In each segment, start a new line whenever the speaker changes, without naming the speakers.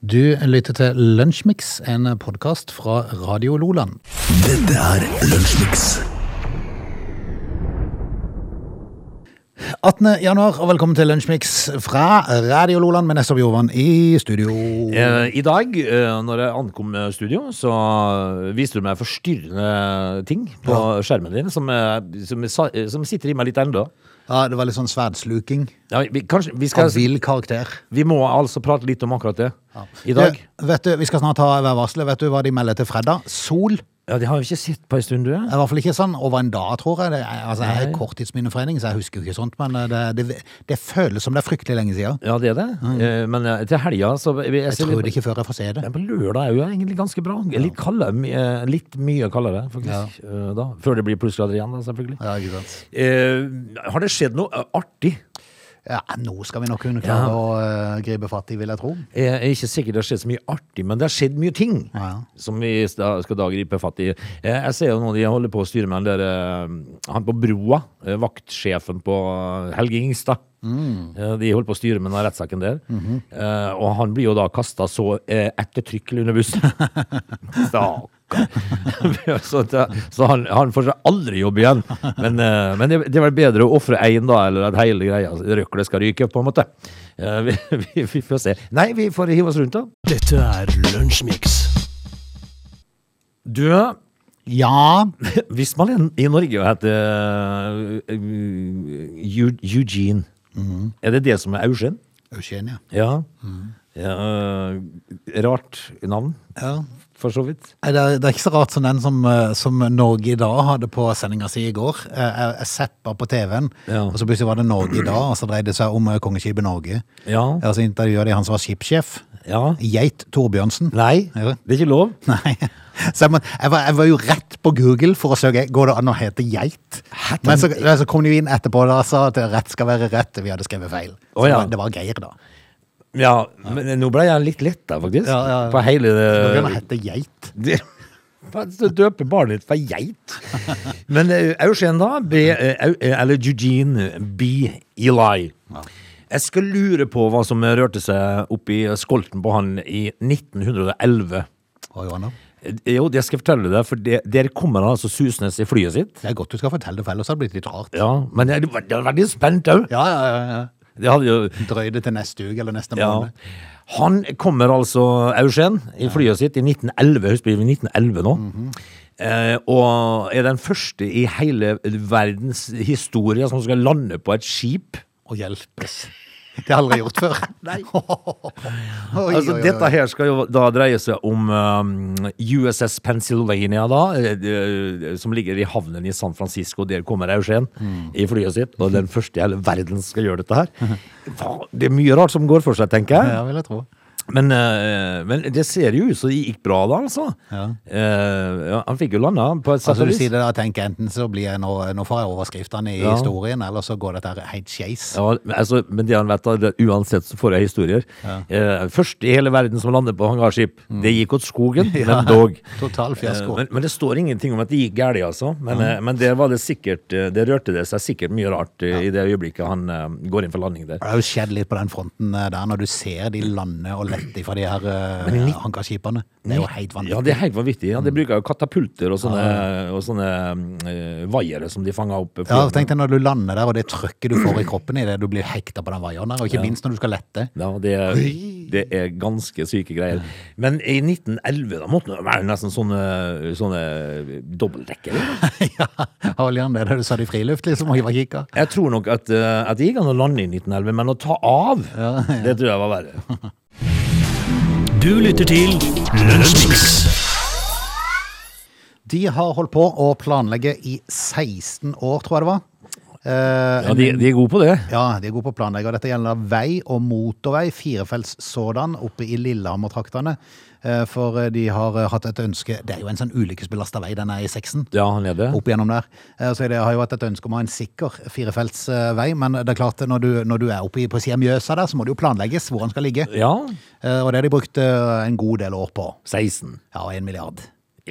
Du lytter til Lunsjmix, en podkast fra Radio Loland.
Dette er Lunsjmix.
18. januar, og velkommen til Lunsjmix fra Radio Loland med Nestor Bjorvann i studio.
Eh, I dag, eh, når jeg ankom eh, studio, så viste du meg forstyrrende ting på skjermen din som, eh, som, sa- eh, som sitter i meg litt ennå.
Ja, Det var litt sånn sverdsluking.
Ja, vi, kanskje, vi,
Av
skal,
vill karakter.
vi må altså prate litt om akkurat det i dag.
Du, vet du, Vi skal snart ha værvarselet. Vet du hva de melder til fredag? Sol. Det
Ja, Det har vi ikke sett på en stund, du.
er I hvert fall ikke sånn over en dag, tror jeg. Det er, altså, jeg er korttidsminneforening, så jeg husker jo ikke sånt. Men eh, det, det, det føles som det er fryktelig lenge siden.
Ja, det er det. Eh, Men eh, til helga så jeg, jeg,
Jeg tror det ikke før jeg får se det.
Ja, På lørdag er jo egentlig ganske bra. Litt kaldere. my- eh, Litt mye kaldere, faktisk. eh, Da. Før det blir plussgrader igjen, da, selvfølgelig.
Ja, ikke sant?
Eh, har det skjedd noe eh, artig?
Ja, Nå skal vi nok kunne klare
Ja.
å eh, gripe fatt i, vil jeg tro.
Jeg er ikke sikker det har skjedd så mye artig, men det har skjedd mye ting
Ja.
som vi da, skal da gripe fatt i. Eh, Jeg ser jo nå de holder på å styre med den der, eh, han på broa, eh, vaktsjefen på Helge Ingstad.
Mm.
Eh, De holder på å styre med den rettssaken der.
Mhm.
Eh, Og han blir jo da kasta så eh, ettertrykkelig under bussen. Stakkar. så det- så han, han får seg aldri jobb igjen. Men, eh, men det, det er vel bedre å ofre én, da, eller at hele greia røklet skal ryke, på en måte. Eh, Vi, vi, vi får se. Nei, vi får hive oss rundt, da.
Dette er Lunsjmix.
Du, eh,
Ja,
hvis man er i Norge og heter eh, Eu- Eugene, er det det som er Eugen?
Eugenia.
Mm-hmm. Ja. Ja, eh, rart navn,
Ja.
for så vidt.
Nei, Det er, det er ikke så rart som den som, eh, som Norge i dag hadde på sendinga si i går. Eh, Jeg, jeg zappa på TV-en,
Ja.
og så plutselig var det Norge i dag, og så dreide det seg om eh, kongeskipet Norge.
Ja.
Og så intervjua de han som var skipssjef.
ja.
Geit Torbjørnsen.
Nei,
Ja.
det er ikke lov.
Nei. Så jeg, må, jeg, var, jeg var jo rett på Google for å søke Går det an å hete geit. Men så, så kom de jo inn etterpå og sa at rett skal være rett. Vi hadde skrevet feil. Så
Å, ja.
det, var, det var Geir, da.
Ja, men nå ble jeg litt letta, faktisk.
Ja, ja, ja.
På hele
Går det an å hete geit?
det, Du døper barnet ditt for geit. Men eh, Eugen, da? Be, eh, Au- eh, eller Eugene B. Eli. Jeg skal lure på hva som rørte seg oppi skolten på han i 1911.
Å, Johanna.
Eh, Jo, det skal jeg fortelle deg, for det, der kommer han altså susende i flyet sitt.
Det er godt du skal fortelle det, for ellers hadde det blitt litt rart.
Ja, Men jeg jeg var veldig spent òg.
Ja, ja, ja, ja.
Det hadde jo
Drøy det til neste uke eller neste
Ja.
måned.
Han kommer altså, Eugen, i flyet sitt i 1911, husk det er 1911 nå,
Mhm.
eh, og er den første i hele verdens historie som skal lande på et skip.
Og hjelpes. Det har jeg aldri gjort før.
Nei.
Oi,
altså,
oi, oi.
Dette her skal jo da dreie seg om um, USS Pennsylvania, da, eh, eh, som ligger i havnen i San Francisco. Der kommer Eugen
Mm.
i flyet sitt, og den første i hele verden skal gjøre dette her. Hva- Det er mye rart som går for seg, tenker jeg.
Mhm. Ja, vil jeg tro.
Men, eh, men det ser jo ut som det gikk bra, da, altså.
Ja.
Eh, ja, han fikk jo landa på et sett
Altså, du
og vis.
sier det da, tenker jeg, enten så blir jeg nå, nå får jeg overskriftene i
Ja.
historien, eller så går dette her helt skeis.
Ja, men altså, men det han vet, da, det, uansett så får jeg historier. Eh, først i hele verden som lander på hangarskip.
Mm.
Det gikk åt skogen, men dog.
Total
Eh,
fiasko.
Men, men det står ingenting om at det gikk galt, altså. Men, eh, men der var det sikkert eh, Det rørte det seg sikkert mye rart eh, i det øyeblikket han eh, går inn for landing der.
Det har jo skjedd litt på den fronten eh, der, når du ser de lande og lette fra de her eh, hangarskipene. Det er jo helt
Ja,
vanvittig. Mm.
det er helt vanvittig. Ja, de bruker jo katapulter og sånne, og sånne eh, vaiere som de fanger opp.
Ja, tenk deg når du lander der, og det trøkket du får i kroppen i det, du blir hekta på den vaieren der, og ikke minst når du skal lette.
Ja, det, det er ganske syke greier. Men i 1911 da måtte det være nesten sånne, sånne dobbeltdekkere.
ja, har vel gjerne det, det du sa det i friluft, liksom, og i kikka.
Jeg tror nok at, eh, at det gikk an å lande i 1911, men å ta av, det tror jeg var verre.
Du lytter til Lunsjmix.
De har holdt på å planlegge i 16 år, tror jeg det var. Eh,
Ja, de, de er gode på det.
Ja, de er gode på å planlegge. og Dette gjelder vei og motorvei, firefelts sådan, oppe i Lillehammer-traktene. Eh, For eh, de har eh, hatt et ønske Det er jo en sånn ulykkesbelasta vei, den er i seksen.
Ja, han er det.
Opp igjennom der. Eh, Så det har jo hatt et ønske om å ha en sikker firefelts eh, vei, men det er klart, eh, når du, når du er oppe i, på sida av Mjøsa der, så må det jo planlegges hvor den skal ligge.
Ja,
Eh, Og det har de brukt eh, en god del år på.
16.
Ja, en milliard.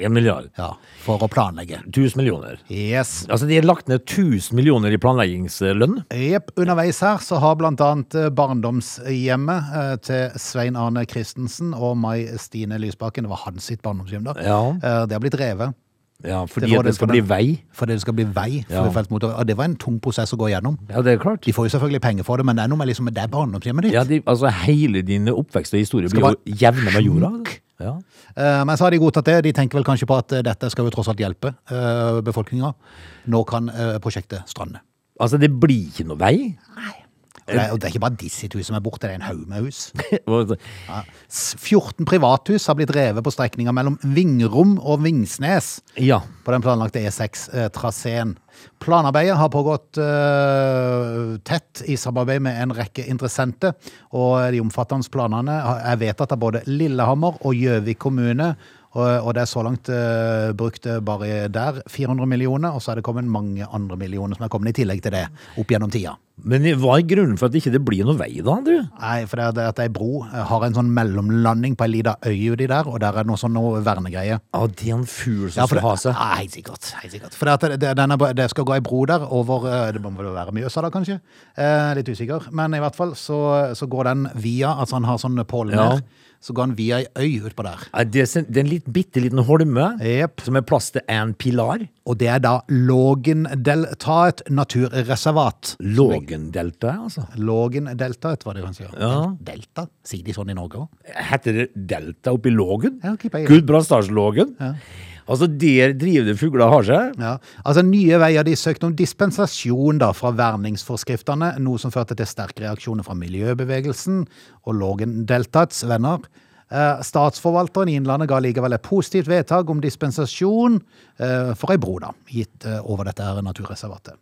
En milliard.
Ja, for å planlegge.
1000 millioner.
Yes.
Altså, de har lagt ned 1000 millioner i planleggingslønn.
Jep, underveis her så har blant annet eh, barndomshjemmet eh, til Svein Arne Christensen og Mai Stine Lysbakken, det var hans sitt barndomshjem da,
Ja.
Eh, det har blitt revet.
Ja,
Det
fordi
var
at det
det
skal
for
bli
den.
vei.
Fordi det skal bli vei for
Ja.
felt motorvei. Og det var en tung prosess å gå gjennom.
Ja, det er klart.
De får jo selvfølgelig penger for det, men det er noe med liksom, det er barndomshjemmet ditt.
Ja, de, altså hele din oppvekst og historie
Skal
blir jo jevna med jorda. altså. Ja.
Eh, Men så har de godtatt det. De tenker vel kanskje på at eh, dette skal jo tross alt hjelpe eh, befolkninga. Nå kan eh, prosjektet strande.
Altså, det blir ikke noe vei.
Og det, er, og det er ikke bare disse husene som er borte, det er en haug med hus.
Og-
Ja. S- 14 privathus har blitt revet på strekninga mellom Vingrom og Vingsnes
Ja.
på den planlagte E6-traseen. Planarbeidet har pågått eh, tett i samarbeid med en rekke interessenter, og de omfattende planene har- er vedtatt av både Lillehammer og Gjøvik kommune. Og, og det er så langt eh, brukt eh, bare der 400 millioner, og så er det kommet mange andre millioner som er kommet i tillegg til det opp gjennom tida.
Men hva er grunnen for at det ikke blir noe vei, da, du?
Nei, for det er det at ei bro eh, har en sånn mellomlanding på ei lita øy uti der, og der er det noe sånn noe vernegreie.
Ja, det er en fugl som
Ja, for
skal
det,
ha seg.
Ja, helt sikkert. Helt sikkert. For det, at det, denne, det skal gå ei bro der over eh, Det må vel være Mjøsa, da, kanskje? Eh, litt usikker. Men i hvert fall så, så går den via Altså han har sånn påle
Ja.
ned. Så går han via ei øy utpå der.
Ja, Det er sen- det er en litt, bitte liten holme
Jep.
som er plass til en pilar.
Og det er da Lågendeltaet naturreservat.
Lågendeltaet, altså.
Lågendeltaet, var det kanskje.
Ja.
Delta? Sier de sånn i Norge òg?
Heter det delta oppi Lågen?
Ja, ok, på-
Gudbrandsdalslågen?
Ja.
Altså, der driver det fugler har seg?
Ja, altså Nye Veier de søkte om dispensasjon da fra verningsforskriftene, noe som førte til sterke reaksjoner fra miljøbevegelsen og Lågendeltaets venner. Eh, Statsforvalteren i Innlandet ga likevel et positivt vedtak om dispensasjon eh, for ei bro da, gitt eh, over dette her naturreservatet.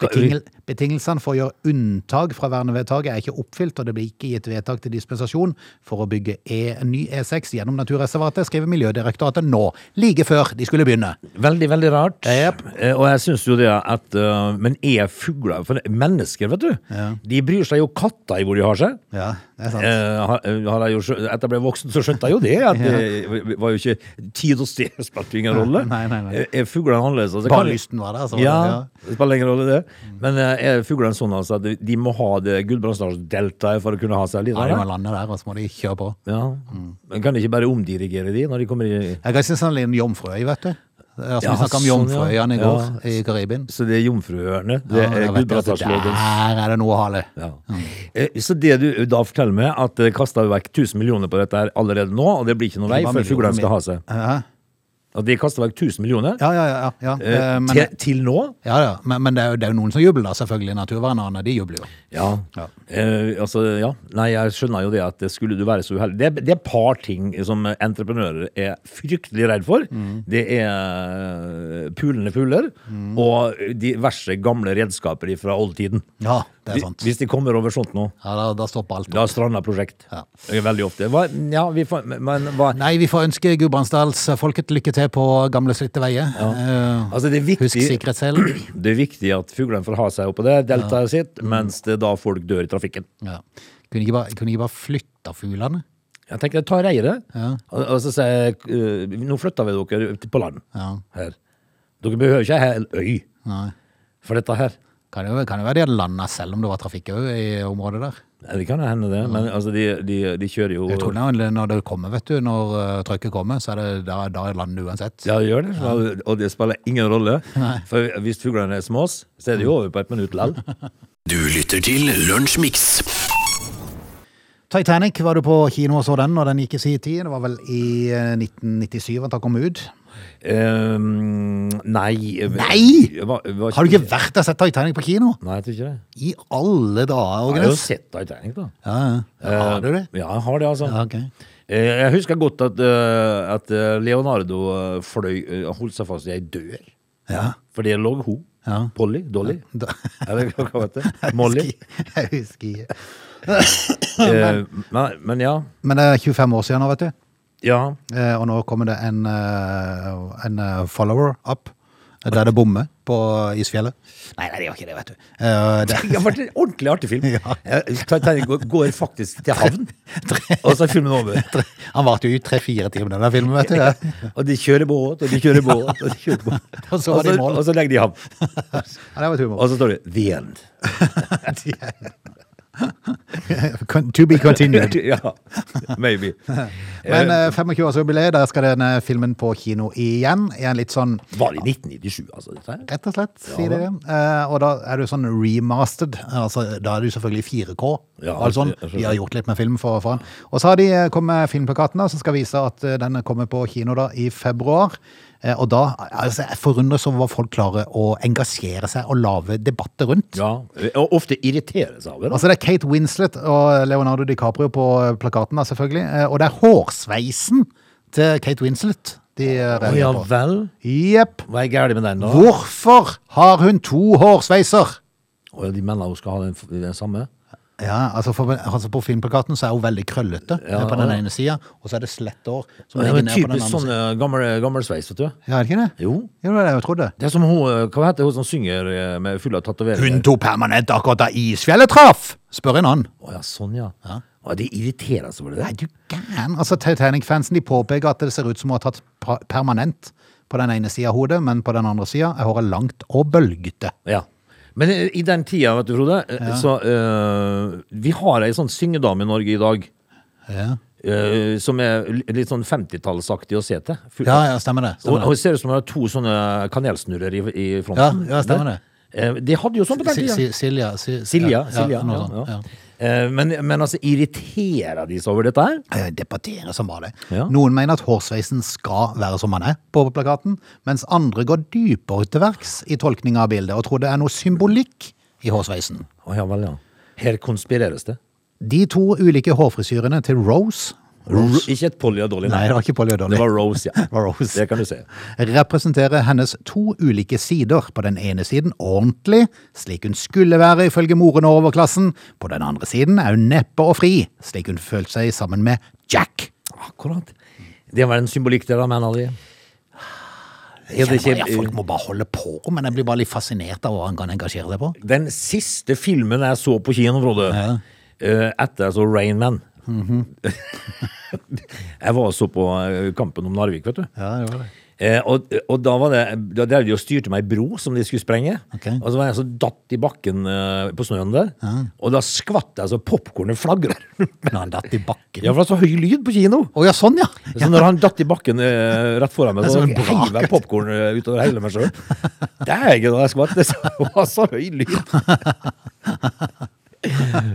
Betingel betingelsene for å gjøre unntak fra vernevedtaket er ikke oppfylt, og det blir ikke gitt vedtak til dispensasjon for å bygge e ny E6 gjennom naturreservatet, skriver Miljødirektoratet nå, like før de skulle begynne.
Veldig, veldig rart. Eh, Og jeg syns jo det at eh, Men er fugler For mennesker, vet du, de bryr seg jo katta i hvor de har seg.
Ja, det er sant.
Eh, har, har jeg jo, skjø- etter jeg ble voksen, så skjønte jeg jo det. At det var jo ikke Tid og sted spilte jo ingen rolle.
Nei, nei, nei.
Eh, Er fuglene annerledes? Altså,
Bare
kan-
lysten var der, så var
ja,
det- ja. Mm.
det spiller ingen rolle, det. Men eh, er fuglene sånn altså, at de- de må ha det Gudbrandsdalsdeltaet for å kunne ha seg litt?
Ja, de må
Ja,
lande der, og så må de kjøre på.
ja.
Mm.
Men kan de ikke bare omdirigere de når de kommer i
Jeg kan synes han er en sånn jomfruøy, vet du. Altså,
Ja,
vi snakket om
sånn, ja.
jomfruøyene i går i Karibien.
Så det er Jomfruøyene. Det
Ja, da vet
er
altså. jeg at
Gudbrandsdalslågen.
Der er det noe å hale.
Ja. Eh, Så det du da forteller meg, at det kasta vekk 1000 millioner på dette her allerede nå, og det blir ikke noe vei
Det var
før
millioner
fuglene skal
min.
ha seg.
Ja,
Og de kaster vekk 1000 millioner.
ja, ja. ja, ja.
Eh,
Eh, Men,
til, til nå?
ja, ja. men, men det, er jo, det er jo noen som jubler, da, selvfølgelig. Naturvernerne, de jubler jo.
Ja.
Ja.
Eh, altså, ja. Nei, jeg skjønner jo det at det skulle du være så uheldig det, er- det er et par ting som entreprenører er fryktelig redd for.
Mm.
Det er eh, pulende fugler og diverse gamle redskaper fra oldtiden.
Ja, det er
Hvis-
sant.
Hvis de kommer over sånt nå,
Ja, da, da stopper alt.
da strander prosjekt.
Ja.
Veldig ofte. Hva, ja, vi får, men hva
Nei, vi får ønske Gudbrandsdalsfolket lykke til på gamle, slitte veier. Eh,
Altså, det er viktig
Husk sikkerhetsselen.
Det er viktig at fuglene får ha seg oppå det deltaet sitt, mens det da folk dør i trafikken.
Ja. Kunne ikke bare, kunne ikke bare flytta fuglene?
Jeg tenkte, ta reiret,
Ja.
og, og så sier jeg, eh, nå flytter vi dere ut på land
Ja.
her. Dere behøver ikke en hel øy
Nei.
for dette her.
Kan jo, kan jo være de hadde landa selv om det var trafikk også i området der.
Nei, Det kan jo hende det, men altså, de, de, de kjører jo...
Jeg tror når, når det kommer, vet du, når eh, trykket kommer, så er det da, da er landet uansett.
Ja, de gjør det, og det spiller ingen rolle. For hvis fuglene er små, så er det jo over på et minutt lell.
Du lytter til Lunsjmix.
Titanic var du på kino og så den, og den gikk i sin tid. Det var vel i eh, 1997 at den kom ut.
Ehm, nei.
Nei!
Hva- hva-
Har du ikke vært og sett Titanic på kino?
Nei, jeg tror ikke det.
I alle dager,
Jeg har jo
Ågnes.
sett Titanic da.
Ja, ja. Har du det?
Eh, Ja, jeg har det, altså.
Ja, ok.
Eh, Jeg husker godt at, eh, at eh, Leonardo eh, fløy, eh, holdt seg fast i ei dør.
Ja.
For der lå hun.
Ja.
Polly? Dolly?
Da,
Eller hva hva heter det? Molly?
Jeg husker ikke.
Eh, men, men ja.
Men det er 25 år siden nå, vet du.
Ja.
Eh, Og nå kommer det en, eh, en eh, follower up. der det bommer på isfjellet. Nei, nei, det gjør ikke det, vet du. Eh, det,
Det har vært en ordentlig artig film. Eh, Titanic går- går faktisk til havn, og så er filmen over.
han varte jo i tre-fire timer, den der filmen, vet du. Ja.
Og de kjører båt, og de kjører båt, og de kjører båt.
Og så var de i mål.
og så legger de i havn.
Ja, det var et humor.
Og så står det 'The End'.
Con- To be continued.
ja, maybe.
Men eh, 25-årsjubileet, der skal denne filmen på kino igjen. I en litt sånn
Var det i 1997, altså? dette her?
Rett og slett, sier de det. Eh, og da er du sånn remastered. Altså, da er du selvfølgelig 4K.
Ja,
og alt sånn.
jeg skjønner.
De har gjort litt med film for faen. Og så har de eh, kommet med filmplakaten da, som skal vise at eh, den kommer på kino da i februar. Eh, og da altså, Jeg forundres over hva folk klarer å engasjere seg og lage debatter rundt.
Ja, og ofte irriterer seg over det.
Altså Det er Kate Winslet og Leonardo DiCaprio på eh, plakaten, da, selvfølgelig. Eh, Og det er hårsveisen til Kate Winslet de eh,
Å ja
reagerer på.
vel,
Jepp.
hva er galt med den da?
Hvorfor har hun to hårsveiser?
Å ja, de mener hun skal ha den, den samme.
Ja, altså, for, altså På filmplakaten så er hun veldig krøllete
Ja.
på den ene sida, og så er det slett hår som
Ja,
ligger
men
ned på den
typisk
andre
sånn
sida.
eh, gammel, gammel sveis, vet du.
Ja, er det ikke det?
Jo.
Jo, det var det jeg trodde.
Det er som hun, eh, hva heter hun som synger eh, med full av
Hun
tatoveringer?
tok permanent akkurat da isfjellet traff! spør en annen.
Å ja, sånn ja. Å, det irriterer seg over det.
Er du gæren? Altså, Titanic-fansen de påpeker at det ser ut som hun har tatt pa- permanent på den ene sida av hodet, men på den andre sida er håret langt og bølgete.
Ja. Men eh, i den tida, vet du, Frode, eh, så eh, Vi har ei sånn syngedame i Norge i dag.
Ja,
eh, som er li- litt sånn 50-tallsaktig å se til. Full-
ja, ja stemmer det.
Og,
Stemmer
og
det.
det ser ut som hun har to sånne kanelsnurrer i, i fronten.
Ja, ja, stemmer det.
Eh, De hadde jo sånn på den
Si-
tida.
si- Silja si-
Silja.
ja,
Silja,
noe
ja,
sånt,
ja.
ja.
Eh, Men, men altså, irriterer de seg over dette her?
Eh, debattere som bare det.
Ja.
Noen mener at hårsveisen skal være som han er på plakaten, mens andre går dypere til verks i tolkninga av bildet og tror det er noe symbolikk i hårsveisen.
Å ja vel, ja. Her konspireres det.
De to ulike hårfrisyrene til Rose,
Ro- ikke et Polly og Dolly,
Nei, det var ikke Polly og Dolly.
Det var Rose, ja.
var Rose.
Det kan du se.
representerer hennes to ulike sider. På den ene siden ordentlig, slik hun skulle være ifølge moren og overklassen. På den andre siden er hun neppe og fri, slik hun følte seg sammen med Jack.
Akkurat. Det var en symbolikk der, da, mener de. Er det
Jeg kjenner bare, ja,
ikke,
folk må bare holde på, men jeg blir bare litt fascinert av hva han kan engasjere seg på.
Den siste filmen jeg så på kino, Frode, eh, etter jeg så Rain Man Mhm. Jeg var og så på eh, Kampen om Narvik, vet du.
Ja, det var det.
Eh, og, og da var det Da drev de og styrte meg ei bro som de skulle sprenge.
Ok.
Og så var jeg så datt i bakken eh, på snøen der. Og da skvatt jeg så popkornet flagrer.
Når han datt i bakken.
Ja, for det er så høy lyd på kino!
Å ja, sånn ja!
Så når han datt i bakken eh, rett foran meg,
Det er
så
som en
heiv jeg popkorn eh, utover hele meg sjøl. Dægen, da jeg skvatt! Det var så høy lyd.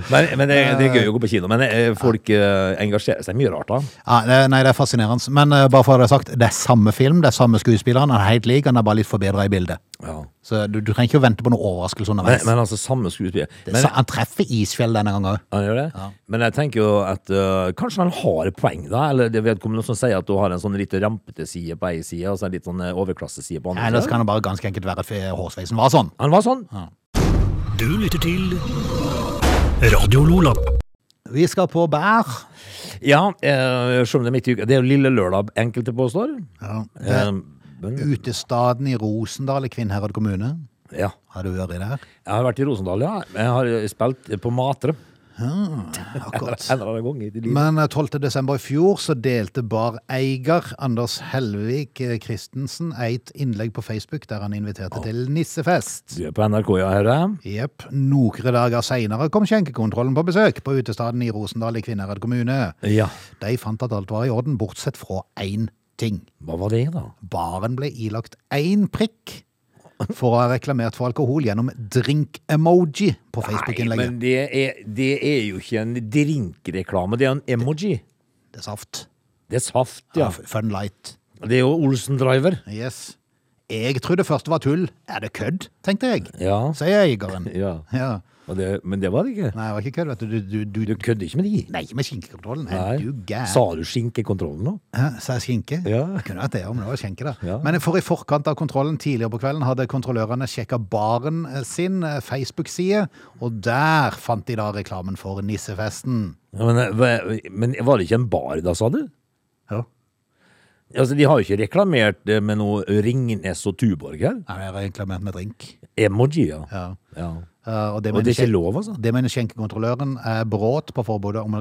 Men, men det, det er gøy å gå på kino. Men eh, folk eh, engasjerer seg mye rart, da.
ja det, nei, det er fascinerende. Men eh, bare for å ha det sagt, det er samme film, det er samme skuespiller, han er helt lik, han er bare litt forbedra i bildet.
Ja.
Så du, du trenger ikke å vente på noen overraskelse
Men,
underveis.
men altså, samme skuespiller. Men,
Så han treffer isfjell denne gangen òg.
Han gjør det? Men jeg tenker jo at øh, kanskje han har et poeng, da? Eller det vedkommende som sier at du har en sånn litt rampete side på ei side, og så en litt sånn øh, overklasseside på andre
Ellers
siden.
kan det bare ganske enkelt være at hårsveisen var sånn.
Han var sånn.
Du lytter til Radio Lola.
Vi skal på bær.
Ja, øh, selv om det er midt i uka. Det er jo lille lørdag, enkelte påstår.
Ja.
Eh, men,
Utestaden i Rosendal i Kvinnherad kommune.
ja.
Har du vært der?
Jeg har vært i Rosendal, ja. Jeg har øh, spilt på Matre.
Akkurat.
En eller annen gang i livet.
Men eh, 12. desember i fjor så delte bareier Anders Helvik eh, Christensen et innlegg på Facebook der han inviterte til nissefest.
Du er på NRK, ja, hører jeg.
Jepp. Noen dager seinere kom skjenkekontrollen på besøk på utestaden i Rosendal i Kvinnherad kommune.
Ja.
De fant at alt var i orden, bortsett fra én ting.
Hva var det, da?
Baren ble ilagt én prikk for å ha reklamert for alkohol gjennom drink-emoji på
Nei,
Facebook-innlegget.
men det er, det er jo ikke en drinkreklame. Det er en emoji.
Det er saft.
Det er saft,
Ja.
ja.
Fun light.
Det er jo Olsen Driver.
Yes. Jeg trodde først det var tull. Er det kødd, tenkte jeg,
Ja.
sier eieren.
Ja.
Ja.
Og det, men det var det ikke.
Nei, det var ikke kødd, vet du. Du, du,
Du
du.
kødder ikke med de.
Nei, med skinkekontrollen. Er du
Sa
gæren?
du skinkekontrollen nå?
Hæ, Sa jeg skinke?
Ja.
Det Kunne vært det, ja, men det var skjenke, da.
Ja.
Men for i forkant av kontrollen tidligere på kvelden hadde kontrollørene sjekka baren sin eh, Facebook-side, og der fant de da reklamen for nissefesten.
Ja, men, eh, hva- men var det ikke en bar da, sa du?
Ja.
Altså, de har jo ikke reklamert eh, med noe Ringnes og Tuborg her.
Nei, jeg har reklamert med drink.
Emojier.
Ja.
Ja.
Eh, og det
Og
mener,
det er ikke
skjen-
lov, altså.
det mener skjenkekontrolløren er brått på forbudet om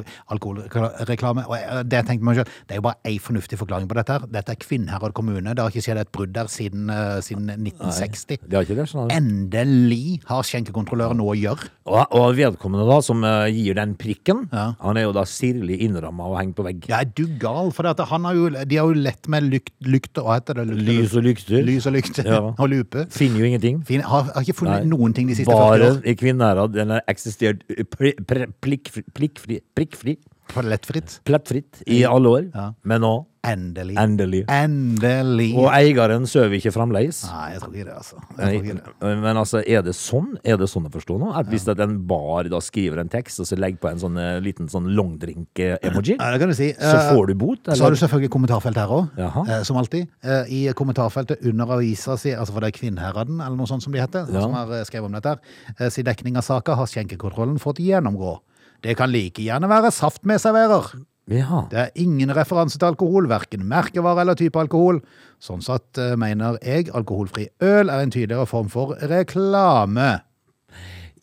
alkoholreklame. Og jeg- det tenkte meg selv, det er jo bare ei fornuftig forklaring på dette. her. Dette er Kvinnherad kommune. Det har ikke skjedd et brudd der siden, eh, siden 1960.
Det har ikke det, skjønner du.
Endelig har skjenkekontrolløren noe å gjøre.
Og, og vedkommende da, som eh, gir den prikken,
Ja.
han er jo da sirlig innramma og hengt på vegg.
Ja, er du gal? For dette, han har jo, de har jo lett med lykt, lykt og hva heter det? Lykt,
Lys og lykter.
Lys og lykte
Ja.
og lupe.
Finner jo ingenting.
Fin, har, har ikke funnet
Nei.
noen ting de siste 40
Bare
år.
i Kvinnherad. Den har eksistert eh, pri- pri- plikkfri, plikkfri, prikkfri,
Palettfritt.
plettfritt i alle år.
Ja.
Men nå,
Endelig.
endelig.
Endelig.
Og eieren sover ikke fremdeles.
Nei, jeg tror ikke det, altså. Jeg tror ikke det.
Men altså, er det sånn Er det sånn å forstå nå? At hvis at en bar da skriver en tekst, og så legger på en sånn eh, liten sånn longdrink-emoji,
Ja, det kan du si. Eh,
så får du bot?
Så har
Eller?
du selvfølgelig kommentarfelt her òg,
Jaha.
som alltid. Eh, I kommentarfeltet under avisa si, altså for det er Kvinnherraden eller noe sånt som de heter,
Ja.
som har eh, skrevet om dette, her, eh, si dekning av saka har skjenkekontrollen fått gjennomgå. Det kan like gjerne være saft med serverer.
Ja.
Det er ingen referanse til alkohol, verken merkevare eller type alkohol. Sånn sett eh, mener jeg alkoholfri øl er en tydeligere form for reklame.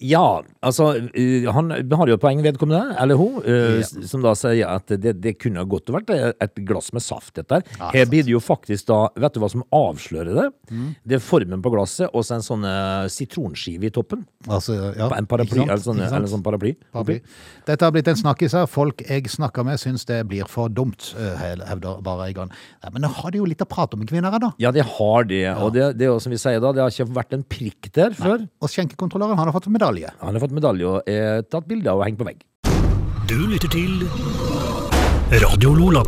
ja, altså eh, Han har jo et poeng, vedkommende, eller hun, eh,
Ja.
s- som da sier at det, det kunne godt vært et glass med saft, dette her.
Ja,
Her
sant. Mm.
blir det jo faktisk da Vet du hva som avslører det? Det er formen på glasset og så en sånn eh, sitronskive i toppen.
Altså, ja,
En paraply,
ikke sant?
eller sånn,
Ikke sant?
eller sånn paraply.
Paraply. Dette har blitt en snakkis her. Folk jeg snakker med, syns det blir for dumt, eh, hevder bareieren. Nei, Men nå har de jo litt å prate om, kvinner, her, da.
Ja, de har det. Og det, det er jo som vi sier da, det har ikke vært en prikk der før.
Og skjenkekontrolløren han har fått medalje.
Han har fått medalje og er tatt bilder og hengt på vegg.
Du lytter til Radio Lola.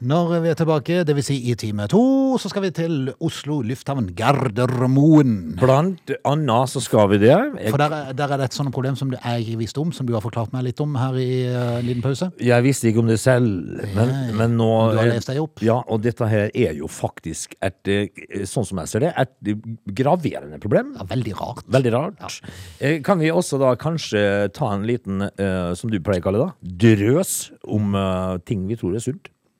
Når vi er tilbake, dvs. Si i time to, så skal vi til Oslo lufthavn Gardermoen.
Blant annet så skal vi det.
For
Jeg,
der er, der er det et sånt problem som jeg ikke visste om, som du har forklart meg litt om her i eh, en liten pause.
jeg visste ikke om det selv, men, men nå
Du har lest deg opp.
Ja, og dette her er jo faktisk et, eh, sånn som jeg ser det, et graverende problem.
Ja, veldig rart.
Veldig rart. Eh, Kan vi også da kanskje ta en liten, eh, som du pleier å kalle det, da, drøs om eh, ting vi tror er sunt?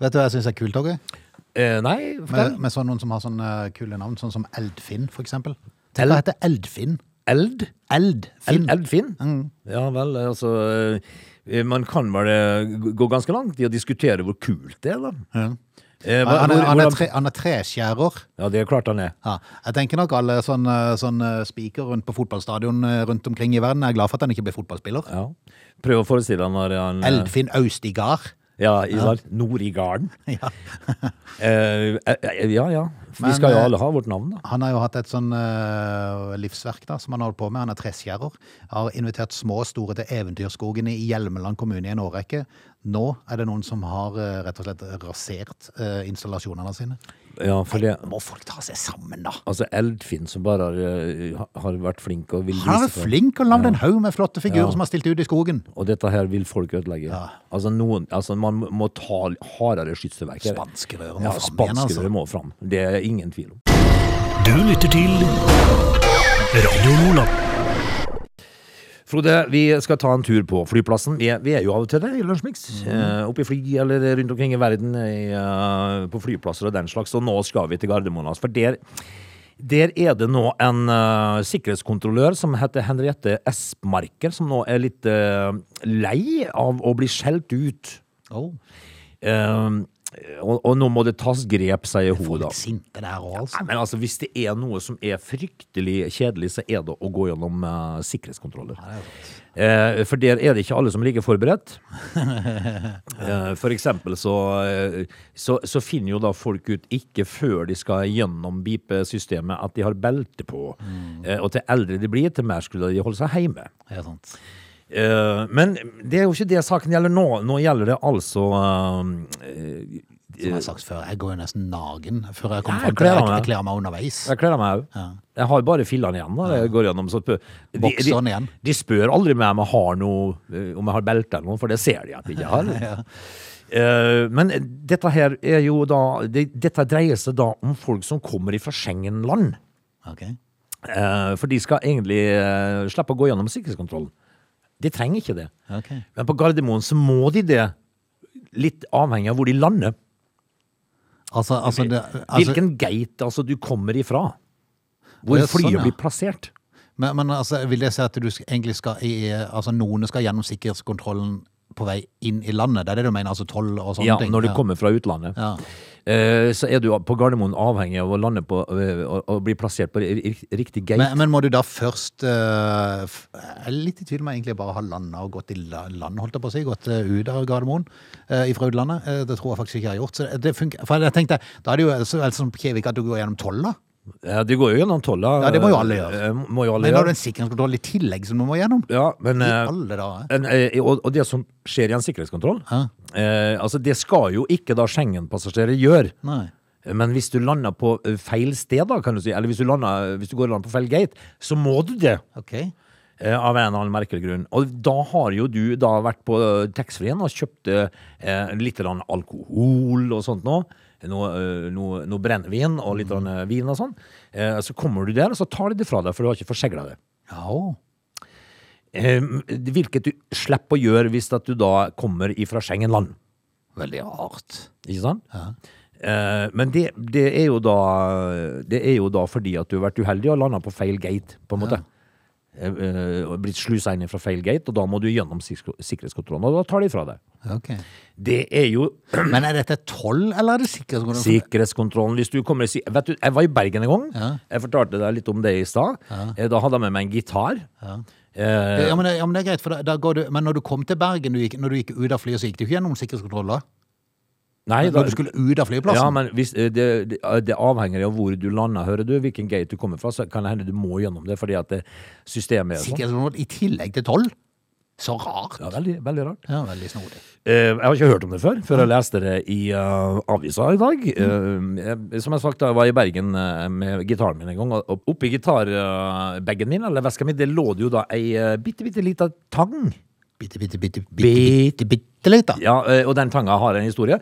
Vet du hva jeg syns er kult, Åge?
Eh, nei, fortell.
Med, med sånn noen som har sånne eh, kule navn, sånn som Eldfinn, for eksempel. Tenk hva heter Eldfinn.
Eld?
Eldfinn.
Eld- Eldfinn?
Mm.
Ja vel, altså eh, Man kan vel eh, gå ganske langt i å diskutere hvor kult det er, da. Eh,
Han, er,
hva- hvor-
han, er
hvordan-
tre, han er treskjærer.
Ja, det er klart han er.
Ja. Jeg tenker nok alle sånn, eh, sånne, sånne spiker rundt på fotballstadion eh, rundt omkring i verden er glad for at han ikke ble fotballspiller.
Ja. Prøv å forestille deg når han eh,
Eldfinn Austigard.
Ja, i ja. Nord i garden.
Ja.
Eh, eh, eh, ja ja. Vi
Men,
skal jo
eh,
alle ha vårt navn, da.
Han har jo hatt et sånn eh, livsverk da, som han har holdt på med. Han er treskjærer. Har invitert små og store til Eventyrskogen i Hjelmeland kommune i en årrekke. Nå er det noen som har eh, rett og slett rasert eh, installasjonene sine.
Ja, for det
Må folk ta seg sammen, da!
Altså Eldfinn som bare har, eh, ha- har vært flink og vil
Han er
vise frem.
flink og lagd en haug med flotte figurer
Ja.
som har stilt ut i skogen.
Og dette her vil folk ødelegge. Altså, noen, altså Man må ta hardere skytsverk. her.
Spanskerøret må fram igjen,
Ja,
altså.
spanskerøret må fram. Det er ingen tvil om.
Du lytter til Radio Lola.
Frode, vi skal ta en tur på flyplassen. Vi er, vi er jo av og til der i Lunsjmix. Eh, oppe i fly eller rundt omkring i verden i, eh, på flyplasser og den slags. Og nå skal vi til Gardermoen. Altså, for der, der er det nå en eh, sikkerhetskontrollør som heter Henriette Espmarker, som nå er litt eh, lei av å bli skjelt ut.
Oh,
Eh, og, og nå må det tas grep, sier hun da.
litt sinte der òg, altså.
Nei, men altså, Hvis det er noe som er fryktelig kjedelig, så er det å gå gjennom eh, sikkerhetskontroller. Eh, for der er det ikke alle som ligger forberedt. Eh, for eksempel så, eh, så, så finner jo da folk ut ikke før de skal gjennom bipesystemet at de har belte på. Eh, og til eldre de blir, til mer skulle de holde seg hjemme.
Ja, sant.
Eh, men det er jo ikke det saken gjelder nå. Nå gjelder det altså eh,
Som jeg har sagt før, jeg går jo nesten nagen før jeg kommer
Ja,
fram.
jeg
til det.
kler
Jeg,
meg.
jeg kler meg underveis.
Jeg kler av meg òg. Jeg har bare fillene igjen. da Jeg går gjennom så de, de,
Bokseren igjen.
de spør aldri meg om jeg har noe eh, Om jeg har belte eller noe, for det ser de at jeg ikke har. Eh, Men dette her er jo da det, Dette dreier seg da om folk som kommer ifra Schengen-land.
Ok.
Eh, For de skal egentlig eh, slippe å gå gjennom sikkerhetskontrollen. De trenger ikke det.
Ok.
Men på Gardermoen så må de det. Litt avhengig av hvor de lander.
Altså, altså, det, altså
Hvilken gate altså, du kommer ifra. Hvor
Ja, sånn,
flyet
ja.
blir plassert.
men, men altså, vil det si at du sk- egentlig skal i, Altså, noen skal gjennom sikkerhetskontrollen på vei inn i landet? Det er det du mener? Altså toll og sånne
Ja,
ting?
når du kommer fra utlandet.
Ja.
Eh, Så er du på Gardermoen avhengig av å lande på eh, og- og bli plassert på ri- ri- riktig gate.
Men, men må du da først eh, f- Jeg er litt i tvil om jeg egentlig bare har landa og gått i la- land, holdt jeg på å si. Gått eh, ut av Gardermoen eh, fra utlandet. Eh, det tror jeg faktisk ikke jeg har gjort. Så det, det funker, for jeg tenkte, da er det jo så, vel som på Kjevik at du går gjennom tolla.
Ja, det går jo gjennom tolla.
Ja, det må jo alle gjøre.
Eh, Må jo alle
Men da har du
gjøre.
en sikkerhetskontroll i tillegg som du må gjennom.
Ja, men,
I
eh,
alle dager.
en, eh, og, og det som skjer i en sikkerhetskontroll, eh, altså det skal jo ikke da Schengen-passasjerer gjøre.
Nei.
Men hvis du lander på eh, feil sted, da, kan du si, eller hvis du, lander, hvis du går i land på feil gate, så må du det.
Ok.
eh, Av en eller annen merkelig grunn. Og da har jo du da vært på eh, taxfree-en og kjøpt eh, litt grann alkohol og sånt nå. Noe, eh, noe, noe brennevin og litt grann, eh, vin og sånn. Eh, Så kommer du der, og så tar de det fra deg, for du har ikke forsegla det.
Ja, å.
Eh, Hvilket du slipper å gjøre hvis at du da kommer ifra Schengen-land.
veldig rart.
Ikke sant? Eh, Men det, det, er jo da, det er jo da fordi at du har vært uheldig og landa på feil gate, på en måte. Eh, eh, og Blitt slusa inn fra feil gate, og da må du gjennom sikkerhets- sikkerhetskontrollen. Og da tar de fra deg.
Ok.
Det er jo
Men er dette toll, eller er det sikkerhetskontroll?
sikkerhetskontrollen. Hvis du kommer i si- Vet du, jeg var i Bergen en gang.
Ja.
Jeg fortalte deg litt om det i stad. Eh, Da hadde jeg med meg en gitar. Eh,
Ja, men, det- ja, men det er greit, for da, da går du, men når du kom til Bergen, du gikk, når du gikk ut av flyet, så gikk du ikke gjennom sikkerhetskontroll da?
Nei, da-
Når du skulle ut av flyplassen?
Ja, men hvis, eh, det, det det avhenger av hvor du lander, hører du. Hvilken gate du kommer fra, så kan det hende du må gjennom det fordi at det systemet er sånn.
Sikkerhetskontroll i tillegg til toll? Så rart.
Ja, veldig, veldig rart.
Ja, veldig snodig.
Eh, jeg har ikke hørt om det før, før jeg leste det i eh, avisa i dag. Eh, jeg, som jeg sagt, da jeg var i Bergen eh, med gitaren min en gang, og og oppi gitarbagen min, eller veska mi, det lå det jo da ei eh, bitte, bitte lita tang.
Bitte, bitte, bitte, bitte, bitte, bitte litt, da.
Ja, eh, og den tanga har en historie,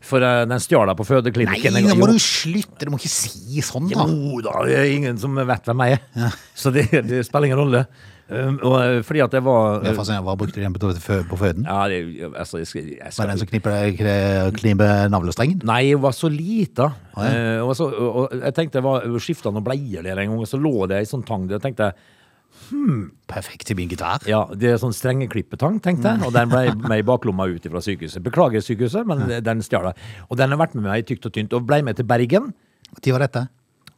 for eh, den stjal jeg på
Nei,
fødeklinikken. en
nå
gang.
må
Jo.
du slutte, du må ikke si sånn, da.
Jo da, det er ingen som vet hvem jeg er. Så det, det spiller ingen rolle. Um, og, eh, fordi at jeg var
Det er fascinerende, hva brukte du den på, fø- på føden?
Ja, det, altså, jeg skal, jeg
Var det
skal
den som knipper, kne- kniper navlestrengen?
Nei, jeg var så lita.
Å, ja.
Eh, og, så, og, og jeg tenkte jeg var skifta noen bleier der en gang, og så lå det ei sånn tang der. og tenkte jeg,
Perfekt til min gitar.
ja, Det er sånn strengeklippetang, tenkte jeg. Og den ble med i baklomma ut fra sykehuset. Beklager, sykehuset, men den stjal jeg. Og den har vært med meg i tykt og tynt, og ble med til Bergen.
Når var dette?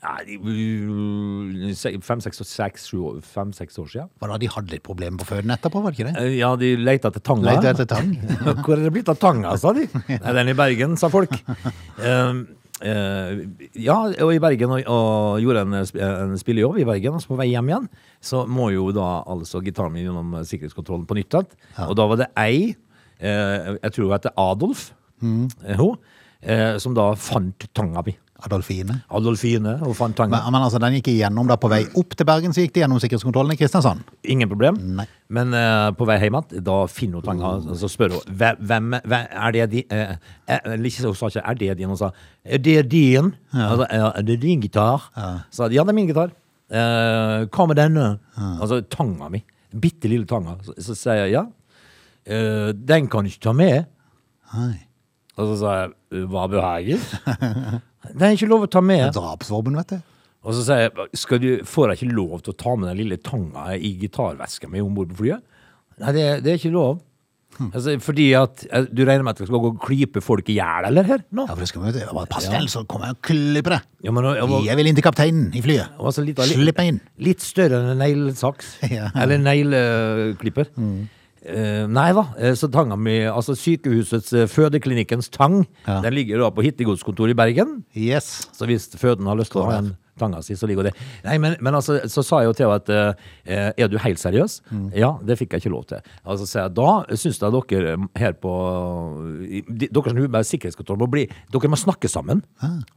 Nei, uh, se- fem, seks, og- seks, sju år- fem, seks år siden.
Var det da de hadde litt problemer på føden etterpå, var det ikke det?
Eh, Ja, de leita etter tanga.
Lette etter tang.
Hvor er det blitt av tanga, sa de. Nei, den i Bergen, sa folk. Um, eh, ja, og i Bergen, og, og gjorde en, sp- en spillejobb i Bergen, altså på vei hjem igjen, så må jo da altså gitaren min gjennom sikkerhetskontrollen på nytt igjen. Og da var det ei, eh, jeg tror hun heter Adolf, eh, hun, eh, som da fant tanga mi.
Adolfine.
Adolfine, hun fant tanga.
Men, men altså, den gikk igjennom da på vei opp til Bergen, så gikk det gjennom sikkerhetskontrollen i Kristiansand.
Ingen problem.
Nei.
Men eh, på vei hjem igjen, da finner hun tanga, og så spør hun "Hve- hvem, hvem er det din? eh, eh, eller ikke, hun sa ikke 'er det din', hun sa 'er det din'? Altså, «Ja, er det din gitar? Så sa de, ja, det er min gitar. Eh, hva med denne? Altså tanga mi. Bitte lille tanga. Så, så sier jeg ja. Eh, den kan du ikke ta med.
Nei.
Og så sa jeg hva behager? den er ikke lov å ta med.
Drapsvåpen, vet du.
Og så sier jeg, skal du, får jeg ikke lov til å ta med den lille tanga i gitarveska mi om bord på flyet? Nei, det, det er ikke lov.
Hm.
Altså, fordi at eh, Du regner med at jeg skal gå og klype folk i hjel, eller? her? Nå?
Ja, for det skal vi jo til. Bare Pass deg, så kommer jeg og klipper deg.
Ja, men, jeg var,
Jeg vil inn til kapteinen i flyet.
jeg var så liten-
Slipp meg inn.
Litt større enn en neglesaks.
Ja. Mm.
Eller en negleklipper. Eh, nei da, eh, så tanga mi Altså sykehusets, eh, fødeklinikkens tang,
Ja.
den ligger da på Hittegodskontoret i Bergen.
Yes.
Så hvis føden har lyst til å ha en tanga si, så ligger det Nei, men, men altså, så sa jeg jo til henne at eh, Er du helt seriøs?
Mm.
Ja, det fikk jeg ikke lov til. Altså, så jeg, da syns jeg dere her på i- de- Dere som jobber med sikkerhetskontroll, må bli Dere må snakke sammen.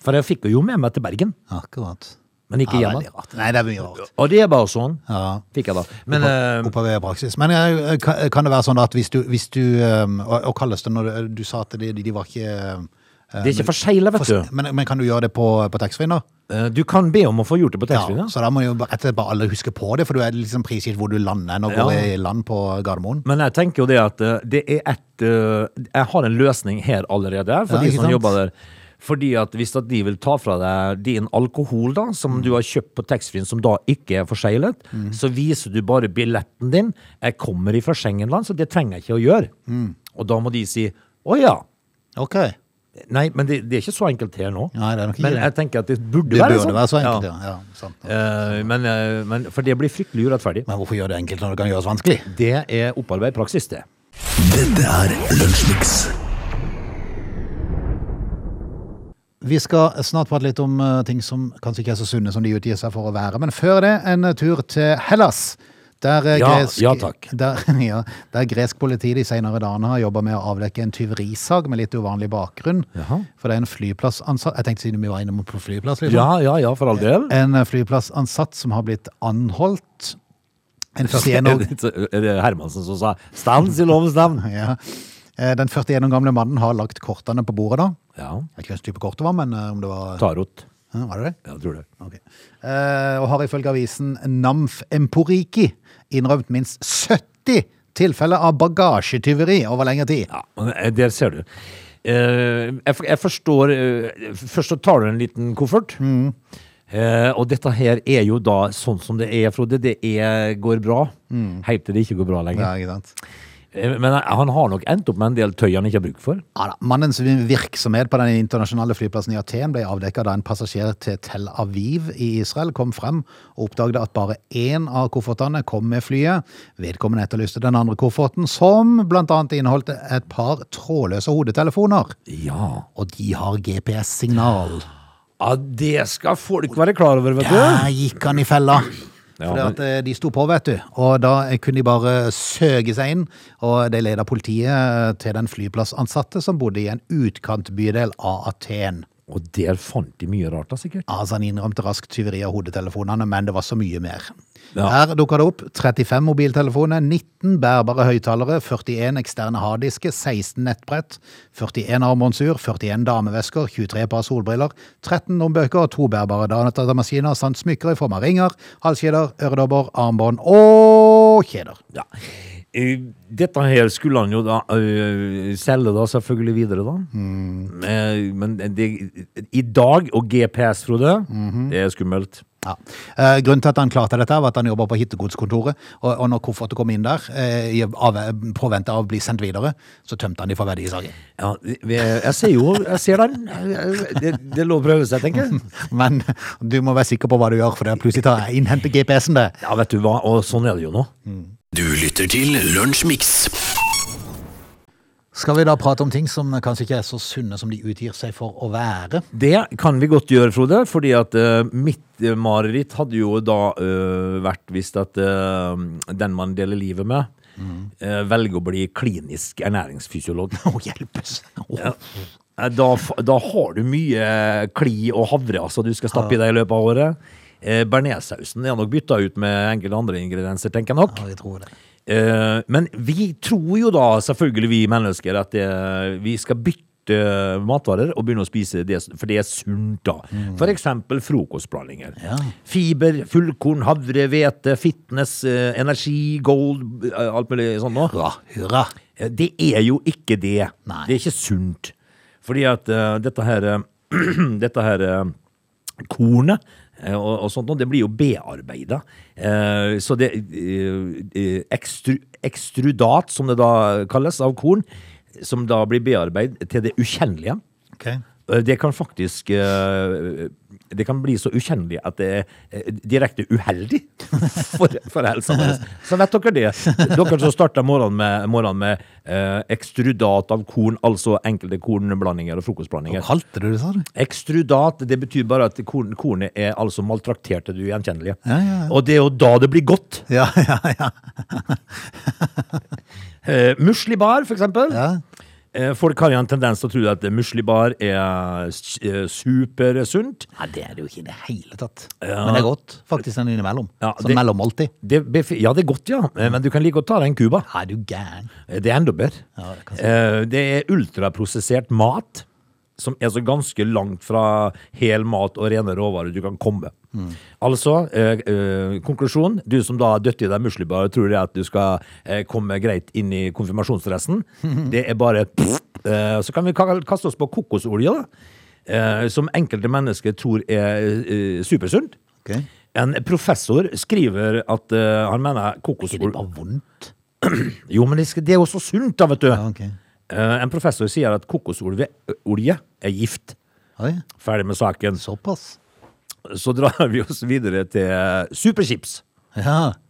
For jeg fikk jo med meg til Bergen,
Akkurat.
men ikke
Ja,
hjem
veldig rart. Nei, det er mye rart.
Og det er bare sånn.
Ja.
Fikk jeg da. Men eh,
Oppover i praksis. Men eh, kan kan det være sånn at hvis du, hvis du um, og, og kalles det når du, du sa at de, de var ikke eh,
det er ikke for seile, vet
for-
du.
men, men kan du gjøre det på, på taxfree nå?
Eh, Du kan be om å få gjort det på
Ja,
taxfree. da.
så da må jo bare- rett og slett bare alle huske på det, for du er liksom prisgitt hvor du lander når du
Ja.
går i land på Gardermoen.
Men jeg tenker jo det at eh, det er et eh, Jeg har en løsning her allerede, for
Ja,
de
ikke
som
sant?
jobber der. Fordi at Hvis at de vil ta fra deg din alkohol, da, som
Mm.
du har kjøpt på taxfree-en, som da ikke er forseglet, så viser du bare billetten din. 'Jeg kommer ifra Schengenland, så det trenger jeg ikke å gjøre.'
Mm.
Og da må de si 'Å ja'.
Ok.
Nei, men det, det er ikke så enkelt her nå.
Nei, det er nok ikke
men
det.
jeg tenker at det burde,
Det
være,
burde
sånn.
være så enkelt, ja. ja. sant.
Eh, men, eh, men, for det blir fryktelig urettferdig.
Men hvorfor gjøre det enkelt når det kan gjøres vanskelig?
Det er opparbeid praksis, det.
Dette er Lunsjmix.
Vi skal snart prate litt om eh, ting som kanskje ikke er så sunne som de utgir seg for å være. Men før det, en eh, tur til Hellas. Der, eh,
Ja,
gresk,
ja, takk.
Der, ja, der gresk politi de senere dagene har jobba med å avdekke en tyverisag med litt uvanlig bakgrunn.
Jaha.
For det er en flyplassansatt Jeg tenkte siden vi var inne på flyplass, liksom.
Ja, ja, ja, for all del.
En eh, flyplassansatt som har blitt anholdt. En 41 år
Er det Hermansen som sa 'stans i lovens navn'?
ja. Eh, Den 41 år gamle mannen har lagt kortene på bordet, da.
Ja.
Jeg vet ikke hvilken type kort det var, men eh, om det var
Tarot.
Hæ, Var det det?
Ja, jeg tror det.
Ok. Eh, og har ifølge avisen Namf Emporiki innrømt minst 70 tilfeller av bagasjetyveri over lengre tid.
Ja, men, eh, Der ser du. Eh, Jeg, for- jeg forstår eh, Først så tar du en liten koffert. Eh, og dette her er jo da sånn som det er, Frode. Det er, går bra. Helt til det ikke går bra lenger.
Ja, ikke sant?
Eh, Men han har nok endt opp med en del tøy han ikke har bruk for.
Ja, da. Mannens virksomhet på den internasjonale flyplassen i Aten ble avdekket da en passasjer til Tel Aviv i Israel kom frem og oppdagde at bare én av koffertene kom med flyet. Vedkommende etterlyste den andre kofferten, som blant annet inneholdt et par trådløse hodetelefoner.
Ja.
Og de har GPS-signal.
ja det skal folk være klar over, vet du.
Der gikk han i fella.
Ja,
Fordi
men-
at eh, De sto på, vet du. Og da eh, kunne de bare søke seg inn. Og de leda politiet eh, til den flyplassansatte som bodde i en utkantbydel av Aten.
Og der fant de mye rart, da, sikkert.
Altså Han innrømte raskt tyveri av hodetelefonene, men det var så mye mer.
Ja.
Her dukka det opp 35 mobiltelefoner, 19 bærbare høyttalere, 41 eksterne harddisker, 16 nettbrett, 41 armbåndsur, 41 damevesker, 23 par solbriller, 13 lommebøker, to bærbare datamaskiner samt smykker i form av ringer, halskjeder, øredobber, armbånd og kjeder.
Ja. Eh, Dette her skulle han jo da eh, selge da selvfølgelig videre, da. Eh, Men det, i dag, og GPS, Frode, det er skummelt.
Ja. Eh, grunnen til at han klarte dette, var at han jobba på hittegodskontoret. Og, og når kofferten kom inn der, eh, i av, påvente av å bli sendt videre, så tømte han de for verdisaken.
Ja, vi- jeg ser jo Jeg ser den. Det, det er lov å prøve seg, tenker jeg.
Men du må være sikker på hva du gjør, for det er plutselig tar jeg innhenter GPS-en det.
Ja, vet du hva, og sånn er det jo nå.
Du lytter til Lunsjmix.
Skal vi da prate om ting som kanskje ikke er så sunne som de utgir seg for å være?
Det kan vi godt gjøre, Frode, fordi at eh, mitt eh, mareritt hadde jo da eh, vært hvis at eh, den man deler livet med, eh, velger å bli klinisk ernæringsfysiolog.
Å, hjelpes! Å,
Ja. Eh, Da, f- da har du mye kli og havre altså, du skal stappe i deg i løpet av året. Eh, Bearnéssausen er nok bytta ut med enkelte andre ingredienser, tenker jeg nok.
ja, jeg tror det.
Eh, Men vi tror jo da, selvfølgelig vi mennesker, at eh, vi skal bytte matvarer og begynne å spise det, for det er sunt, da. For eksempel frokostblandinger.
Mm. Ja.
Fiber, fullkorn, havre, hvete, fitness, eh, energi, gold, eh, alt mulig sånt nå.
Hurra, hurra!
Eh, Det er jo ikke det.
Nei.
Det er ikke sunt. Fordi at eh, dette her, eh, dette her eh, kornet eh, og, og sånt, noe, det blir jo bearbeida. Eh, så det eh, eh, ekstru, ekstrudat, som det da kalles, av korn, som da blir bearbeidet til det ukjennelige.
Ok.
Eh, Det kan faktisk eh, Det kan bli så ukjennelig at det er eh, direkte uheldig for, for helsa deres. Så vet dere det. Dere som starta morgenen med, morgenen med eh, ekstrudat av korn, altså enkelte kornblandinger og frokostblandinger.
Hva kalte du det, sa du?
Ekstrudat, det betyr bare at korn, kornet er altså maltraktert til det ugjenkjennelige.
Ja, ja, ja.
Og det er jo da det blir godt.
Ja, ja, ja.
Eh, muslibar, for eksempel.
ja.
Eh, folk har jo en tendens til å tro at muslibar er s- eh, supersunt.
Nei, det er det jo ikke i det hele tatt. Men det er godt, faktisk, den innimellom.
Ja,
Sånn
det-
mellommåltid.
Det, befi- ja, det er godt, ja. Eh, Men du kan like godt ta deg en Cuba.
Nei, du gæren.
Eh, Det er enda bedre.
Ja, det kan jeg
Eh, det er ultraprosessert mat, som er så ganske langt fra hel mat og rene råvarer du kan komme.
Mm.
Altså, eh, eh, konklusjon, du som da døtter i deg muslibar og tror det at du skal eh, komme greit inn i konfirmasjonsdressen, det er bare pff, eh, Så kan vi ka- kaste oss på kokosolje, da. Eh, som enkelte mennesker tror er eh, supersunt.
Ok.
En professor skriver at eh, han mener
Ikke det
kokosolje
bare vondt?
Jo, men det, skal, det er jo så sunt, da, vet du.
Ja, ok.
Eh, En professor sier at kokosolje olje er gift.
Oi,
Ferdig med saken.
såpass.
Så drar vi oss videre til eh, superchips.
Ja.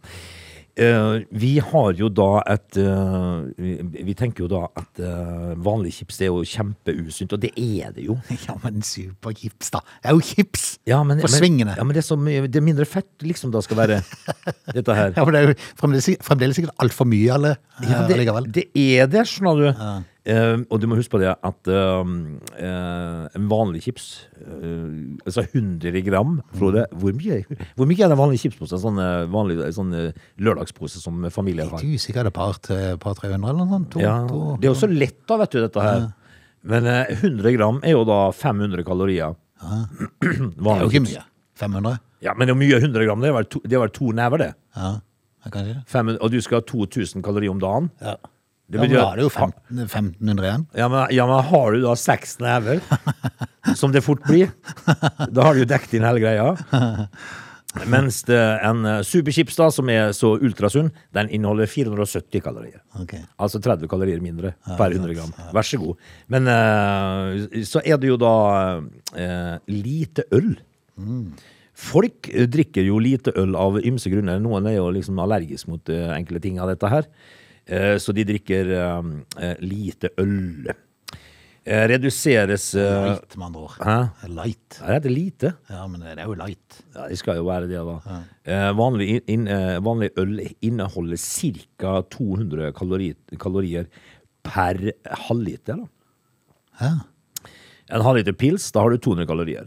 Eh, vi har jo da et eh, vi, vi tenker jo da at eh, vanlig chips det er jo kjempeusunt, og det er det jo.
ja, men superchips, da. Det er jo chips!
Ja, men,
For
men-
svingene.
Ja, men det er, så mye, det er mindre fett liksom da skal være dette her.
Ja, men det er jo fremdeles, fremdeles sikkert altfor mye alle,
Ja,
eh, allikevel.
det, det er det, skjønner du. Eh, og du må huske på det at eh, eh, en vanlig chips, eh, altså 100 gram, Frode,
Mm.
hvor mye, hvor mye er det vanlig chipspose? En sånn, eh, vanlig sånn eh, lørdagspose som familien har.
Litt usikker, er det par til par 300 eller noe sånt? To,
Ja,
to.
det er jo så lett da, vet du, dette her. Men eh, 100 gram er jo da 500 kalorier.
Det er jo
Vanlig
ikke
chips.
mye. 500?
Ja, men det er mye 100 gram, det er vel to, det er vel to never det.
Ja, det er kanskje det.
500, og du skal ha 2000 kalorier om dagen.
Ja. ja,
Det
men
betyr
da
at-
er det jo fem, 1500 igjen.
Ja men, ja, men har du da seks never, som det fort blir, da har du jo dekket inn hele greia. Mens det, en eh, superchips, da, som er så ultrasunn, den inneholder 470 kalorier.
Ok.
Altså 30 kalorier mindre per 100 gram. Vær så god. Men eh, så er det jo da eh, lite øl. Folk eh, drikker jo lite øl av ymse grunner. Noen er jo liksom allergisk mot eh, enkelte ting av dette her. Eh, Så de drikker eh, eh, lite øl. Eh, Reduseres eh,
Light, med andre ord.
Hæ?
Light.
Nei, det er lite.
Ja, men det er jo light.
Ja, det skal jo være det, da. Eh, Vanlig, in- inn- eh, vanlig øl inneholder ca. 200 kalori, kalorier per halvliter. da.
Ja.
En halvliter pils, da har du 200 kalorier.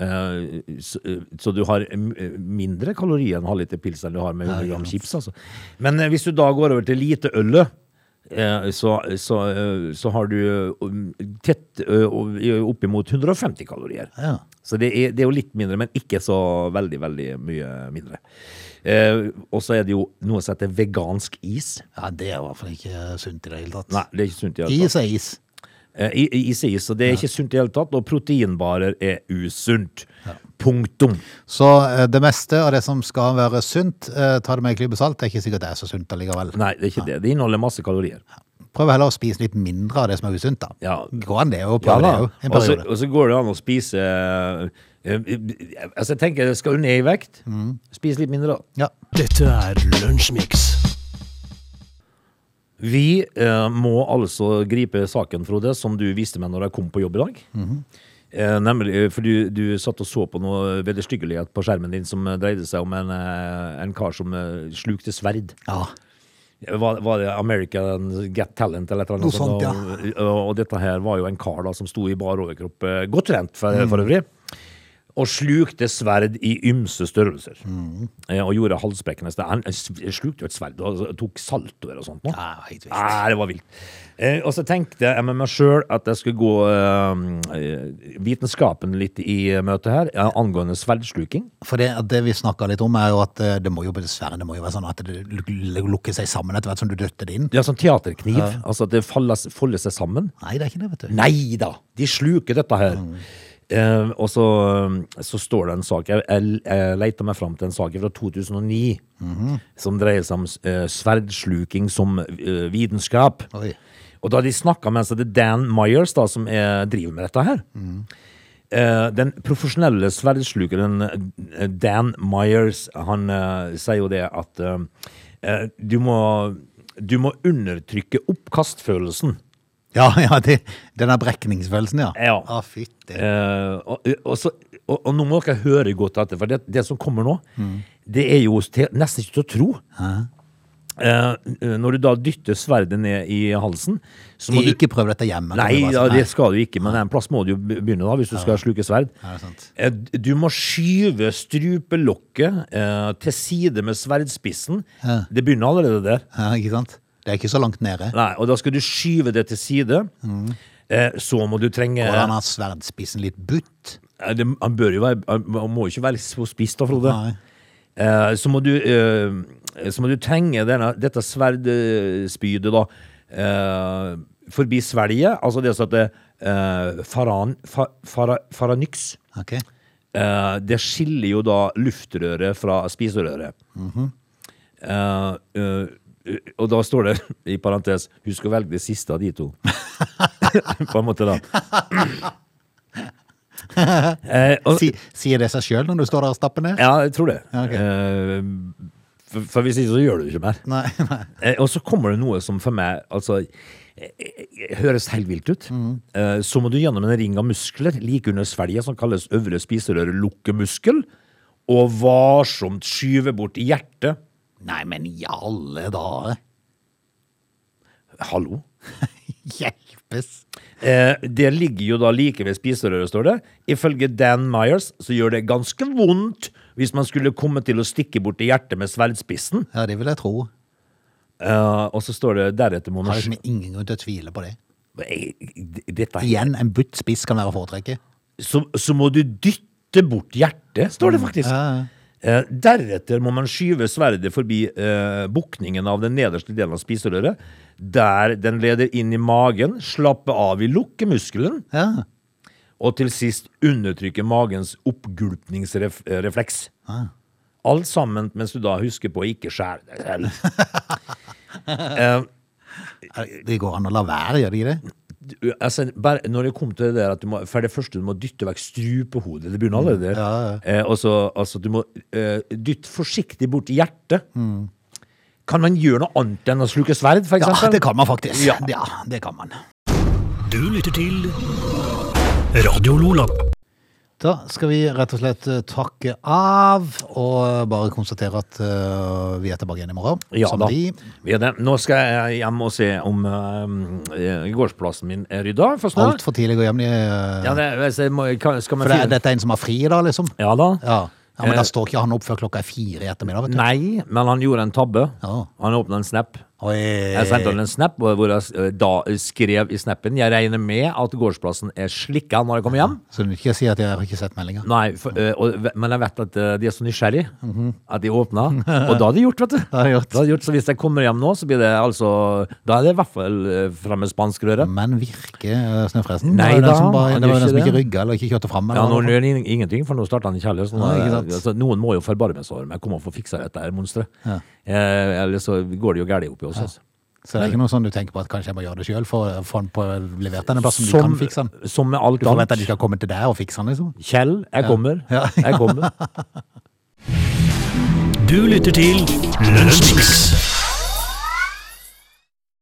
Eh, så, eh, så du har m- eh, mindre kalorier enn halvliter pils enn du har med 100 gram chips. Altså. Men eh, hvis du da går over til lite øl, eh, så, så, eh, så har du eh, um, tett eh, og- i- oppimot 150 kalorier.
Ja.
Så det er, det er jo litt mindre, men ikke så veldig, veldig mye mindre. Eh, og så er det jo noe som heter vegansk is.
ja, det er i hvert fall ikke sunt i det hele tatt.
Nei, det er ikke sunt i det hele tatt.
Is er is.
Eh, i- i- Is er is, og det er ikke sunt i det hele tatt, og proteinbarer er usunt. Punktum.
Så eh, det meste av det som skal være sunt, eh, ta det med en klype salt. Det er ikke sikkert det er så sunt allikevel.
Nei, det er ikke det. Det inneholder masse kalorier.
Prøv heller å spise litt mindre av det som er usunt, da.
Ja.
Går an det å prøve det jo, en
Og så,
periode.
og så går det an å spise eh, eh, eh, Altså, jeg tenker, skal du ned i vekt, spis litt mindre, da.
Ja.
Dette er Lunsjmix.
Vi eh, må altså gripe saken, Frode, som du viste meg når jeg kom på jobb i dag. eh, nemlig, eh, for du, du satt og så på noe vederstyggelighet på skjermen din som eh, dreide seg om en, eh, en kar som eh, slukte sverd.
ja.
Var, var det American Get Talent eller et eller
Noe
annet?
sånt, ja.
og, og, og dette her var jo en kar da som sto i bar overkropp, eh, godt trent for,
Mm.
for øvrig, og slukte sverd i ymse størrelser.
Mm.
Eh, Og gjorde halsbrekkende steg. Han s- slukte jo et sverd og tok saltoer og sånt. nå.
Ja, helt vilt.
Nei, det var vilt. Eh, og så tenkte jeg med meg sjøl at jeg skulle gå eh, eh, vitenskapen litt i møte her, eh, angående sverdsluking.
For det, at det vi snakka litt om, er jo at eh, det må jo dessverre det må jo være sånn at det luk- lukker seg sammen etter hvert som du dytter det inn.
Ja, sånn teaterkniv. Altså at det foldes- folder seg sammen.
Nei, det er ikke det, vet du.
Nei da, de sluker dette her. Eh, og så, så står det en sak Jeg, jeg, jeg leter meg fram til en sak fra 2009 som dreier seg om eh, sverdsluking som eh, vitenskap.
Oi.
Og da de snakka med en som heter Dan Myers, da, som er, driver med dette her eh, Den profesjonelle sverdslukeren eh, Dan Myers, han eh, sier jo det at eh, eh, du, må, du må undertrykke oppkastfølelsen.
Ja, ja, det, den der brekningsfølelsen, ja.
Ja.
Ah, fytti.
Eh, og, og, så, og, og nå må dere høre godt etter, for det, det som kommer nå,
Mm.
det er jo til, nesten ikke til å tro. Eh, når du da dytter sverdet ned i halsen, så må du
Ikke prøv dette hjemme.
Nei,
Det
ja,
var sånn,
det skal du ikke, men en plass må du jo be- begynne da, hvis du skal sluke sverd.
Ja, det er sant.
Eh, d- Du må skyve strupelokket eh, til side med sverdspissen. Det begynner allerede der.
Ja, ikke sant? Det er ikke så langt nede.
Nei, og da skal du skyve det til side.
Mm.
Eh, Så må du trenge
Og den har sverdspissen litt butt.
Eh, det, Han bør jo være Han han må jo ikke være så spist da, Frode.
Nei.
Eh, Så må du eh, Så må du trenge denne, dette sverdspydet da eh, forbi svelget, altså det som heter eh, faran, fa, fara, faranyx.
Ok.
Eh, det skiller jo da luftrøret fra spiserøret. Eh, eh, og da står det i parentes Husk å velge det siste av de to. På en måte, da. Eh, og,
Si, sier det seg sjøl når du står der og stapper ned?
ja, jeg tror det.
Ja, ok.
Eh, for, for hvis ikke, så gjør du det ikke mer.
Nei, nei.
Eh, Og så kommer det noe som for meg altså, eh, eh, høres helt vilt ut.
Mm.
Eh, Så må du gjennom en ring av muskler like under svelget, som kalles øvre spiserørelukkemuskel, og varsomt skyve bort hjertet.
nei men i alle dager.
Hallo?
Hjelpes.
Eh, Det ligger jo da like ved spiserøret, står det. Ifølge Dan Myers så gjør det ganske vondt hvis man skulle komme til å stikke bort i hjertet med sverdspissen.
Ja, det vil jeg tro.
Eh, Og så står det deretter må
Har
man
liksom ingen grunn til å tvile på det.
Jeg- Dette er
Igjen, en butt spiss kan være å foretrekke.
så, så må du dytte bort hjertet, står det faktisk.
Ja, ja.
Eh, deretter må man skyve sverdet forbi eh, bukningen av den nederste delen av spiserøret, der den leder inn i magen, slappe av i lukkemuskelen,
Ja.
og til sist undertrykke magens oppgulpningsrefleks. Alt sammen mens du da husker på å ikke skjære deg selv. eh,
Det går an å la være, gjør det ikke det?
du- altså, bare, når det kom til det der at du må, For det første, du må dytte vekk strupehodet. Det begynner allerede. Eh, og så- altså, du må eh, dytte forsiktig bort hjertet. Kan man gjøre noe annet enn å sluke sverd, for
Ja,
eksempel?
det kan man faktisk.
Sånn Ja.
ja det kan man.
Du lytter til Radio Lola.
Da skal vi rett og slett eh, takke av og bare konstatere at eh, vi er tilbake igjen i morgen.
Ja
som
da.
vi.
Vi er det. Nå skal jeg hjem og se om eh, eh, gårdsplassen min er rydda for snart.
Altfor tidlig å gå hjem. eh,
Ja, det, hvis jeg må, kan, skal man
for det er,
finne
dette er en som har fri i dag, liksom?
Ja da.
Ja. ja men
Eh.
da står ikke han opp før klokka er fire i ettermiddag, vet du.
Nei, men han gjorde en tabbe.
Ja.
Han åpna en snap.
Oi.
Jeg sendte han en snap hvor hvor jeg eh, da skrev i snappen Jeg regner med at gårdsplassen er slikka når jeg kommer hjem.
Så du ikke si at jeg har ikke sett meldinga.
Nei, for, eh, og, ve- men jeg vet at eh, de er så nysgjerrige at de åpna. Og da har de gjort, vet du.
har de Mhm. gjort.
Da gjort. Så hvis jeg kommer hjem nå, så blir det altså Da er det i hvert fall eh, fremme spanskrøret.
Men virker eh, Snøfresen? det var jo
Nei da,
den som, bare,
han
det var jo
gjør
den som
ikke
ikke
det.
rygga eller ikke kjørte fram.
Ja,
Eller hva det
nå
var.
gjør han ingenting, for nå starter han ikke heller. Så nå,
Nei, ikke
eh, altså,
sant.
noen må jo forbarme seg over meg. Kommer og får fiksa dette her monsteret. Eh, eller så går det jo galt oppi oss. Altså.
så det er ikke noe sånn du tenker på at kanskje jeg må gjøre det sjøl for å få den på levert denne plassen? Du kan fikse den.
som med alt
Du forventer at de
annet.
skal komme til deg og fikse den, liksom?
Kjell, jeg kommer.
Ja.
Jeg kommer.
Du lytter til Lunsjmix.